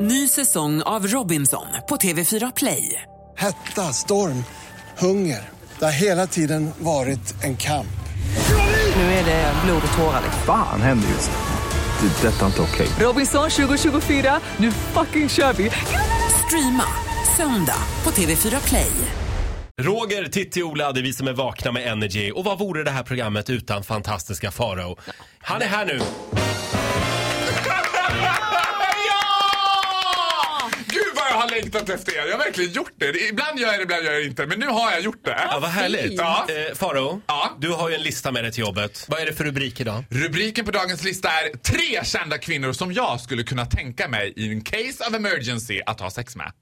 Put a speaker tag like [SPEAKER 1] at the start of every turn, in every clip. [SPEAKER 1] Ny säsong av Robinson på TV4 Play.
[SPEAKER 2] Hetta, storm, hunger. Det har hela tiden varit en kamp.
[SPEAKER 1] Nu är det blod och tårar.
[SPEAKER 3] Fan händer just nu. Det. är Detta är inte okej.
[SPEAKER 1] Robinson 2024, nu fucking kör vi! Streama söndag på TV4 Play.
[SPEAKER 4] Roger, Titti, Ola, det är vi som är vakna med Energy. Och vad vore det här programmet utan fantastiska Farao? Han är här nu!
[SPEAKER 5] Gud vad jag har längtat efter er. Jag har verkligen gjort det. Det- Ibland gör jag det, ibland gör jag det inte. Men nu har jag gjort det.
[SPEAKER 4] Ja, vad härligt!
[SPEAKER 5] Ja.
[SPEAKER 4] Eh, Farao,
[SPEAKER 5] Ja.
[SPEAKER 4] du har ju en lista med dig till jobbet. Vad är det för rubrik idag?
[SPEAKER 5] Rubriken på dagens lista är tre kända kvinnor som jag skulle kunna tänka mig i en case of emergency att ha sex med.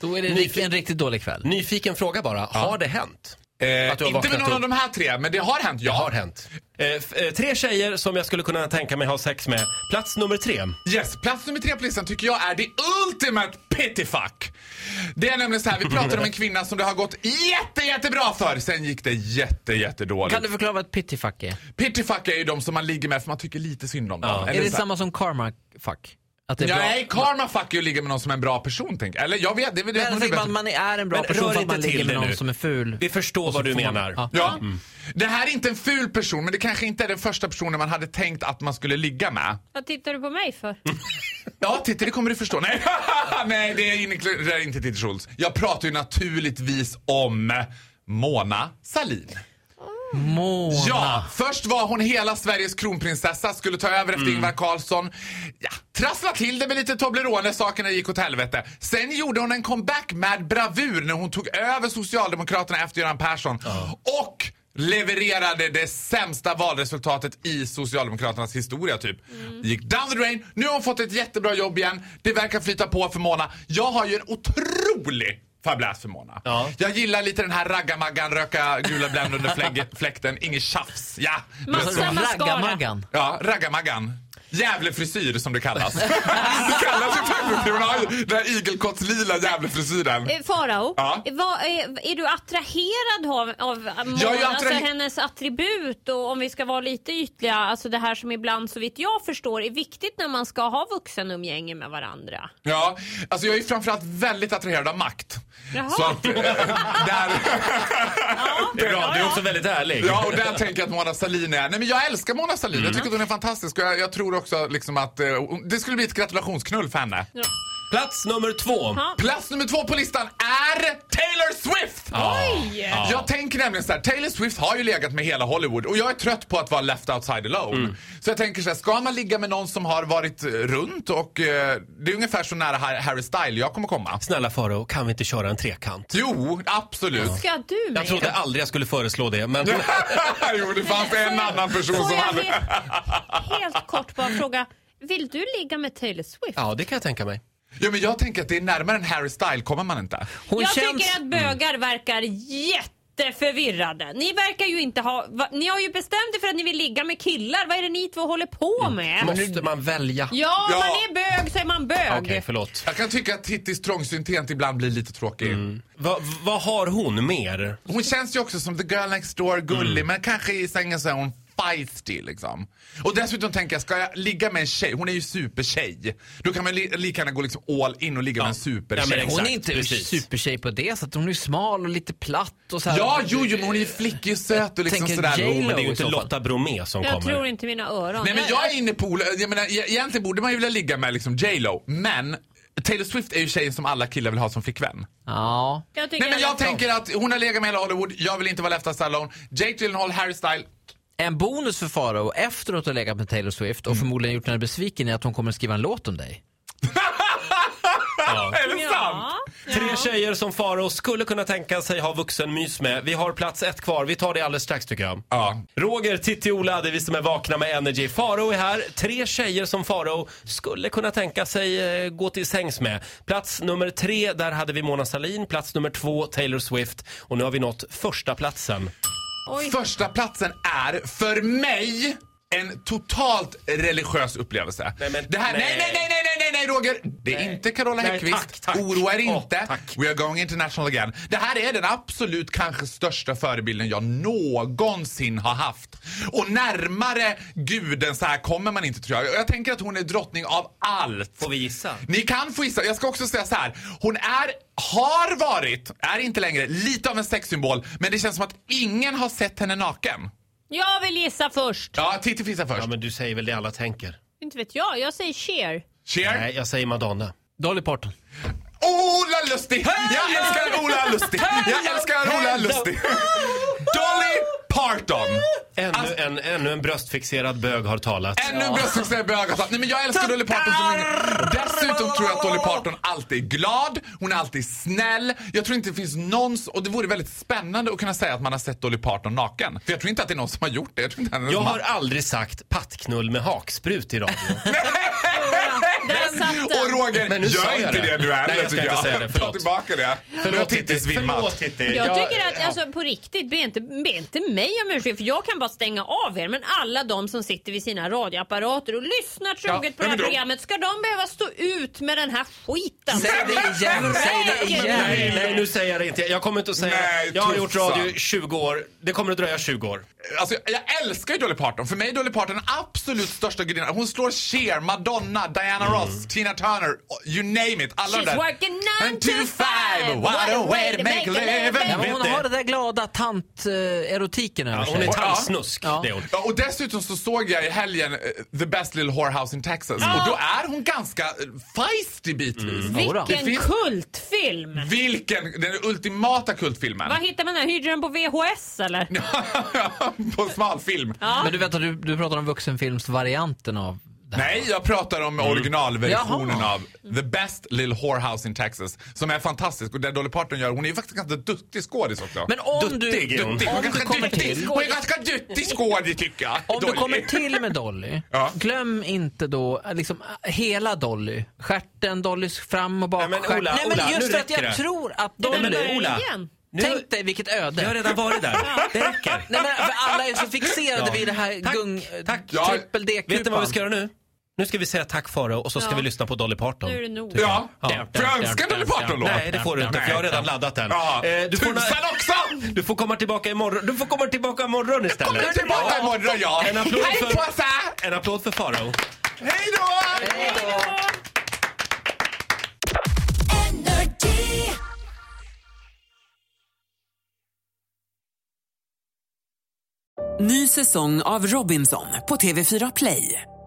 [SPEAKER 6] Då är det rikt- en riktigt dålig kväll.
[SPEAKER 4] Nyfiken fråga bara, har det hänt?
[SPEAKER 5] Eh,
[SPEAKER 4] Att du har
[SPEAKER 5] inte
[SPEAKER 4] vaknat
[SPEAKER 5] med någon
[SPEAKER 4] upp.
[SPEAKER 5] av de här tre, men det har hänt. Ja.
[SPEAKER 4] Det har hänt. Eh, f- eh, tre tjejer som jag skulle kunna tänka mig ha sex med. Plats nummer tre.
[SPEAKER 5] Yes, plats nummer tre på listan tycker jag är the ultimate pittyfuck. Det är nämligen så här, vi pratar om en kvinna som det har gått jätte, jättebra för. Sen gick det jätte, jättedåligt.
[SPEAKER 6] Kan du förklara vad ett pittyfuck är?
[SPEAKER 5] Pittyfuck är ju de som man ligger med för man tycker lite synd om dem. Eller
[SPEAKER 6] Är
[SPEAKER 5] så
[SPEAKER 6] det
[SPEAKER 5] här-
[SPEAKER 6] samma som karma-fuck? Att det är
[SPEAKER 5] Nej,
[SPEAKER 6] bra?
[SPEAKER 5] karma fuck är ju att ligga med någon som är en bra person. Tänk. Eller jag vet, det är väl det
[SPEAKER 6] Men jag
[SPEAKER 5] som är
[SPEAKER 6] tänker
[SPEAKER 5] bäst.
[SPEAKER 6] man, man är en bra
[SPEAKER 4] Men rör
[SPEAKER 6] person för att
[SPEAKER 4] inte
[SPEAKER 6] man ligger
[SPEAKER 4] till
[SPEAKER 6] med
[SPEAKER 4] det
[SPEAKER 6] någon
[SPEAKER 4] nu.
[SPEAKER 6] som är ful.
[SPEAKER 4] Vi förstår vad du
[SPEAKER 6] får man-
[SPEAKER 4] menar.
[SPEAKER 6] Ja.
[SPEAKER 5] Ja. Det här är inte en ful person, men det kanske inte är den första personen man hade tänkt att man skulle ligga med.
[SPEAKER 7] Vad tittar du på mig för?
[SPEAKER 5] Ja, titta, det kommer du förstå. Nej, Nej det inkluderar inte Titti Schultz. Jag pratar ju naturligtvis om Mona Salin.
[SPEAKER 6] Mona.
[SPEAKER 5] Ja, först var hon hela Sveriges kronprinsessa, skulle ta över efter Ingvar Carlsson. Ja, trassla till det med lite Toblerone, sakerna gick åt helvete. Sen gjorde hon en comeback med bravur när hon tog över Socialdemokraterna efter Göran Persson. Och levererade det sämsta valresultatet i Socialdemokraternas historia typ. Gick down the drain, nu har hon fått ett jättebra jobb igen. Det verkar flyta på för Mona. Jag har ju en otrolig fabläs för Mona.
[SPEAKER 4] Ja.
[SPEAKER 5] Jag gillar lite den här raggarmaggan, röka gula Blend under flägg- fläkten, inget tjafs. Ja, du vet
[SPEAKER 7] Massa
[SPEAKER 5] så.
[SPEAKER 7] Samma skala.
[SPEAKER 6] Raggarmaggan.
[SPEAKER 5] ja raggarmaggan. Gävlefrisyr som det kallas. det kallas ju faktiskt för man har ju den här igelkottslila Gävlefrisyren.
[SPEAKER 7] Eh, Farao,
[SPEAKER 5] Ja.
[SPEAKER 7] vad, eh, är du attraherad av, av Mona?
[SPEAKER 5] Jag är ju attrahe-
[SPEAKER 7] alltså hennes attribut och om vi ska vara lite ytliga, alltså det här som ibland så vitt jag förstår är viktigt när man ska ha vuxenumgänge med varandra.
[SPEAKER 5] Ja, alltså jag är ju framförallt väldigt attraherad av makt.
[SPEAKER 7] Jaha.
[SPEAKER 5] Så att, eh, där...
[SPEAKER 4] Det är bra, du är också väldigt ärlig.
[SPEAKER 5] Ja, och där tänker jag att Mona Sahlin är... Nej, men jag älskar Mona Sahlin. Jag tycker att hon är fantastisk. Och jag, jag tror också liksom att... Eh, hon- det skulle bli ett gratulationsknull för henne.
[SPEAKER 4] Plats nummer två.
[SPEAKER 7] Ja.
[SPEAKER 5] Plats nummer två på listan är Taylor Swift!
[SPEAKER 7] Oj!
[SPEAKER 5] Jag tänker nämligen så här, Taylor Swift har ju legat med hela Hollywood och jag är trött på att vara left outside alone.
[SPEAKER 7] Mm.
[SPEAKER 5] Så jag tänker så här, ska man ligga med någon som har varit eh, runt och eh, det är ungefär så nära Har- Harry Style jag kommer komma.
[SPEAKER 4] Snälla Farao, kan vi inte köra en trekant?
[SPEAKER 5] Jo, absolut.
[SPEAKER 7] Ska du med?
[SPEAKER 4] Jag trodde aldrig jag skulle föreslå det, men...
[SPEAKER 5] jo, det fanns en annan person
[SPEAKER 7] Får
[SPEAKER 5] som
[SPEAKER 7] jag
[SPEAKER 5] hade...
[SPEAKER 7] Helt, helt kort bara fråga, vill du ligga med Taylor Swift?
[SPEAKER 4] Ja, det kan jag tänka mig.
[SPEAKER 5] Ja, men jag tänker att det är närmare än Harry Style kommer man inte.
[SPEAKER 6] Hon
[SPEAKER 7] jag
[SPEAKER 6] känns...
[SPEAKER 7] tycker
[SPEAKER 5] Mm.
[SPEAKER 7] att bögar verkar jätteförvirrade. Ni verkar ju inte ha... Va, ni har ju bestämt er för att ni vill ligga med killar. Vad är det ni två håller på med?
[SPEAKER 4] Måste man välja? Okej,
[SPEAKER 7] Ja,
[SPEAKER 5] Mm. Ja.
[SPEAKER 7] man är bög så är man bög.
[SPEAKER 4] förlåt.
[SPEAKER 5] Jag kan tycka att Tittis trångsynthet ibland blir lite tråkig.
[SPEAKER 7] Mm.
[SPEAKER 4] Va, vad har hon mer?
[SPEAKER 5] Hon känns ju också som the girl next door, gullig, men kanske i sängen så är hon feisty liksom. Och dessutom tänker jag, ska jag ligga med en tjej, hon är ju supertjej. Då kan man li- lika gärna gå liksom all in och ligga med en
[SPEAKER 4] Ja,
[SPEAKER 5] supertjej.
[SPEAKER 4] men
[SPEAKER 5] Ja,
[SPEAKER 4] exakt.
[SPEAKER 6] Hon är inte
[SPEAKER 4] precis.
[SPEAKER 6] supertjej på det sättet. Hon är smal och lite platt och så här.
[SPEAKER 5] jo, jo, men hon är ju flickig och söt och liksom
[SPEAKER 6] Tänker
[SPEAKER 5] sådär.
[SPEAKER 6] J-Lo.
[SPEAKER 4] Men det är ju inte
[SPEAKER 6] i så fall.
[SPEAKER 4] Lotta Bromé som
[SPEAKER 7] Jag
[SPEAKER 4] kommer.
[SPEAKER 7] tror inte mina öron.
[SPEAKER 5] Nej men jag är inne på, Ola- jag menar, e- egentligen borde man ju vilja ligga med liksom J Lo, men Taylor Swift är ju tjejen som alla killar vill ha som flickvän.
[SPEAKER 6] Ja.
[SPEAKER 7] jag tycker
[SPEAKER 5] Nej men jag
[SPEAKER 7] alla-
[SPEAKER 5] tänker att hon har legat med hela Hollywood, jag vill inte vara left alone. Jake Gyllenhaal, Harry Style.
[SPEAKER 6] En bonus för Farao efteråt att ha legat med Taylor Swift och förmodligen gjort henne besviken är att hon kommer att skriva en låt om dig.
[SPEAKER 5] Är det sant?
[SPEAKER 7] Ja.
[SPEAKER 4] Tre tjejer som Faro skulle kunna tänka sig ha vuxenmys med. Vi har plats ett kvar. Vi tar det alldeles strax tycker jag.
[SPEAKER 5] Ja.
[SPEAKER 4] Roger, Titti, Ola, det är vi som är vakna med Energy. Faro är här. Tre tjejer som Faro skulle kunna tänka sig eh, gå till sängs med. Plats nummer tre, där hade vi Mona Sahlin. Plats nummer två, Taylor Swift. Och nu har vi nått första platsen.
[SPEAKER 7] Oj.
[SPEAKER 5] Första platsen är för mig en totalt religiös upplevelse.
[SPEAKER 4] Nej, men-
[SPEAKER 5] det här, nej, nej,
[SPEAKER 4] nej.
[SPEAKER 5] nej, nej, nej, nej, nej Roger! Det är inte Carola
[SPEAKER 4] Nej,
[SPEAKER 5] Häggkvist.
[SPEAKER 4] tack, tack.
[SPEAKER 5] Oroa er
[SPEAKER 4] Åh,
[SPEAKER 5] inte.
[SPEAKER 4] tack.
[SPEAKER 5] We are going international again. Det här är den absolut kanske största förebilden jag någonsin har haft. Och närmare guden så här kommer man inte tror jag. Och Jag tänker att hon är drottning av allt.
[SPEAKER 4] Får vi gissa?
[SPEAKER 5] Ni kan få gissa. Jag ska också säga så här. Hon är, har varit, är inte längre, lite av en sexsymbol. Men det känns som att ingen har sett henne naken.
[SPEAKER 7] Jag vill gissa först.
[SPEAKER 5] Ja, Titti Fissa först.
[SPEAKER 4] Ja, men du säger väl det alla tänker?
[SPEAKER 7] Inte vet jag, jag säger Cher.
[SPEAKER 5] Cher.
[SPEAKER 4] Nej, jag säger Madonna.
[SPEAKER 6] Dolly Parton.
[SPEAKER 5] Ola Lustig! Jag älskar Ola Lustig! Jag älskar Ola Lustig! Dolly Parton!
[SPEAKER 4] Ännu,
[SPEAKER 5] Alltså-
[SPEAKER 4] en, ännu en bröstfixerad bög har talat.
[SPEAKER 5] Ännu en bröstsuccé bögar sa- Nej men jag älskar Dolly Parton så mycket. Dessutom tror jag att Dolly Parton alltid är glad, hon är alltid snäll. Jag tror inte det finns någon, s- och det vore väldigt spännande att kunna säga att man har sett Dolly Parton naken. För jag tror inte att det är någon som har gjort det. Jag tror inte att det är någon
[SPEAKER 4] Jag
[SPEAKER 5] som
[SPEAKER 4] har aldrig sagt pattknull med haksprut i radio.
[SPEAKER 7] Där satt
[SPEAKER 5] Och
[SPEAKER 7] den.
[SPEAKER 5] Roger,
[SPEAKER 4] Men nu sa
[SPEAKER 5] gör
[SPEAKER 4] jag
[SPEAKER 5] inte
[SPEAKER 4] det.
[SPEAKER 5] det nu
[SPEAKER 4] Nej,
[SPEAKER 5] heller
[SPEAKER 4] jag ska
[SPEAKER 5] tycker
[SPEAKER 4] inte säga det,
[SPEAKER 5] Ta
[SPEAKER 4] förlåt.
[SPEAKER 5] tillbaka det. Nu har
[SPEAKER 4] Förlåt
[SPEAKER 5] Titti
[SPEAKER 4] Titti, förlåt
[SPEAKER 5] svimmat.
[SPEAKER 4] Titti.
[SPEAKER 7] Jag tycker att, alltså på riktigt, be inte, be inte mig om ursäkt för jag kan bara stänga av er. Men alla de som sitter vid sina radioapparater och lyssnar troget på det
[SPEAKER 5] men
[SPEAKER 7] här
[SPEAKER 5] då-
[SPEAKER 7] programmet, ska de behöva stå ut med den här skiten?
[SPEAKER 6] Säg det igen, säg det igen.
[SPEAKER 4] Nej, nej, nu säger jag det inte. Jag kommer inte att säga...
[SPEAKER 5] Nej,
[SPEAKER 4] jag har gjort
[SPEAKER 5] tuffsan.
[SPEAKER 4] radio i 20 år. Det kommer att dröja 20 år.
[SPEAKER 5] Alltså, jag älskar ju Dolly Parton. För mig är Dolly Parton den absolut största gudinnan. Hon slår Cher, Madonna, Diana Ross, Tina Turner, you name it. Alla de
[SPEAKER 7] Mm.
[SPEAKER 5] där.
[SPEAKER 7] She's working nine
[SPEAKER 5] And
[SPEAKER 7] to five. What a way to make a living.
[SPEAKER 6] Ja, men
[SPEAKER 4] Vet
[SPEAKER 6] hon
[SPEAKER 4] det.
[SPEAKER 6] har den där glada tant-erotiken över sig.
[SPEAKER 4] Hon är
[SPEAKER 5] Ja.
[SPEAKER 4] tandsnusk,
[SPEAKER 6] Ja.
[SPEAKER 4] det är hon.
[SPEAKER 5] Ja, och dessutom så såg jag i helgen eh, The Best Little Whorehouse in Texas. Och då är hon ganska eh, feisty bitvis.
[SPEAKER 6] Jodå.
[SPEAKER 7] Vilken
[SPEAKER 5] Det finns-
[SPEAKER 7] kultfilm!
[SPEAKER 5] Vilken, den ultimata kultfilmen.
[SPEAKER 7] Vad hittar man den? Hyrde den på VHS eller?
[SPEAKER 5] På smalfilm.
[SPEAKER 6] Men du vet att du, du pratar om vuxenfilmsvarianten av det här.
[SPEAKER 5] Nej, jag pratar om originalversionen
[SPEAKER 6] Mm. Jaha.
[SPEAKER 5] av The Best Little Whorehouse in Texas. Som är fantastisk och det Dolly Parton gör. Hon är ju faktiskt ganska duktig skådis också.
[SPEAKER 6] Men om
[SPEAKER 4] Duttig
[SPEAKER 6] du,
[SPEAKER 4] är hon.
[SPEAKER 5] duttig. Hon är
[SPEAKER 6] om du
[SPEAKER 5] ganska
[SPEAKER 6] kommer
[SPEAKER 5] duttig.
[SPEAKER 6] till...
[SPEAKER 5] Hon är ganska duttig skådis tycker jag.
[SPEAKER 6] Om du
[SPEAKER 5] Dolly.
[SPEAKER 6] kommer till med Dolly,
[SPEAKER 5] Ja.
[SPEAKER 6] glöm inte då eh, liksom, eh, hela Dolly. Stjärten, Dollys fram och bak.
[SPEAKER 4] Nej, men
[SPEAKER 6] stjärt-
[SPEAKER 4] Ola,
[SPEAKER 6] Nej, men
[SPEAKER 4] Ola,
[SPEAKER 6] just
[SPEAKER 4] nu
[SPEAKER 6] för att jag
[SPEAKER 4] räcker det.
[SPEAKER 6] tror att
[SPEAKER 7] där
[SPEAKER 6] Dolly...
[SPEAKER 7] börjar
[SPEAKER 4] Ola.
[SPEAKER 7] igen.
[SPEAKER 4] Nu,
[SPEAKER 6] Tänk dig vilket öde.
[SPEAKER 4] jag har redan varit där. Det räcker.
[SPEAKER 6] Nej, men, för alla är så fixerade vid det här
[SPEAKER 4] Tack,
[SPEAKER 6] gung...
[SPEAKER 4] tack.
[SPEAKER 5] Ja.
[SPEAKER 6] Trippel D-kupan.
[SPEAKER 4] Vet du vad vi ska göra nu? Nu ska vi säga tack Farao och så ska
[SPEAKER 7] Ja.
[SPEAKER 4] vi lyssna på Dolly Parton.
[SPEAKER 7] Nu är det nog.
[SPEAKER 4] Tycker jag.
[SPEAKER 5] Ja.
[SPEAKER 4] Ja.
[SPEAKER 5] Får jag önska Dolly Parton-låt?
[SPEAKER 4] Nej, det får du inte för jag har redan laddat den.
[SPEAKER 5] Ja.
[SPEAKER 4] Eh, du, får
[SPEAKER 5] Tusan också!
[SPEAKER 4] du får komma tillbaka imorgon. Du får komma tillbaka imorgon istället.
[SPEAKER 5] Kommer tillbaka imorgon ja.
[SPEAKER 4] En applåd
[SPEAKER 5] Hej
[SPEAKER 4] för-
[SPEAKER 5] påsar!
[SPEAKER 4] En applåd för Farao.
[SPEAKER 5] Hej då!
[SPEAKER 1] Ny säsong av Robinson på TV4 Play.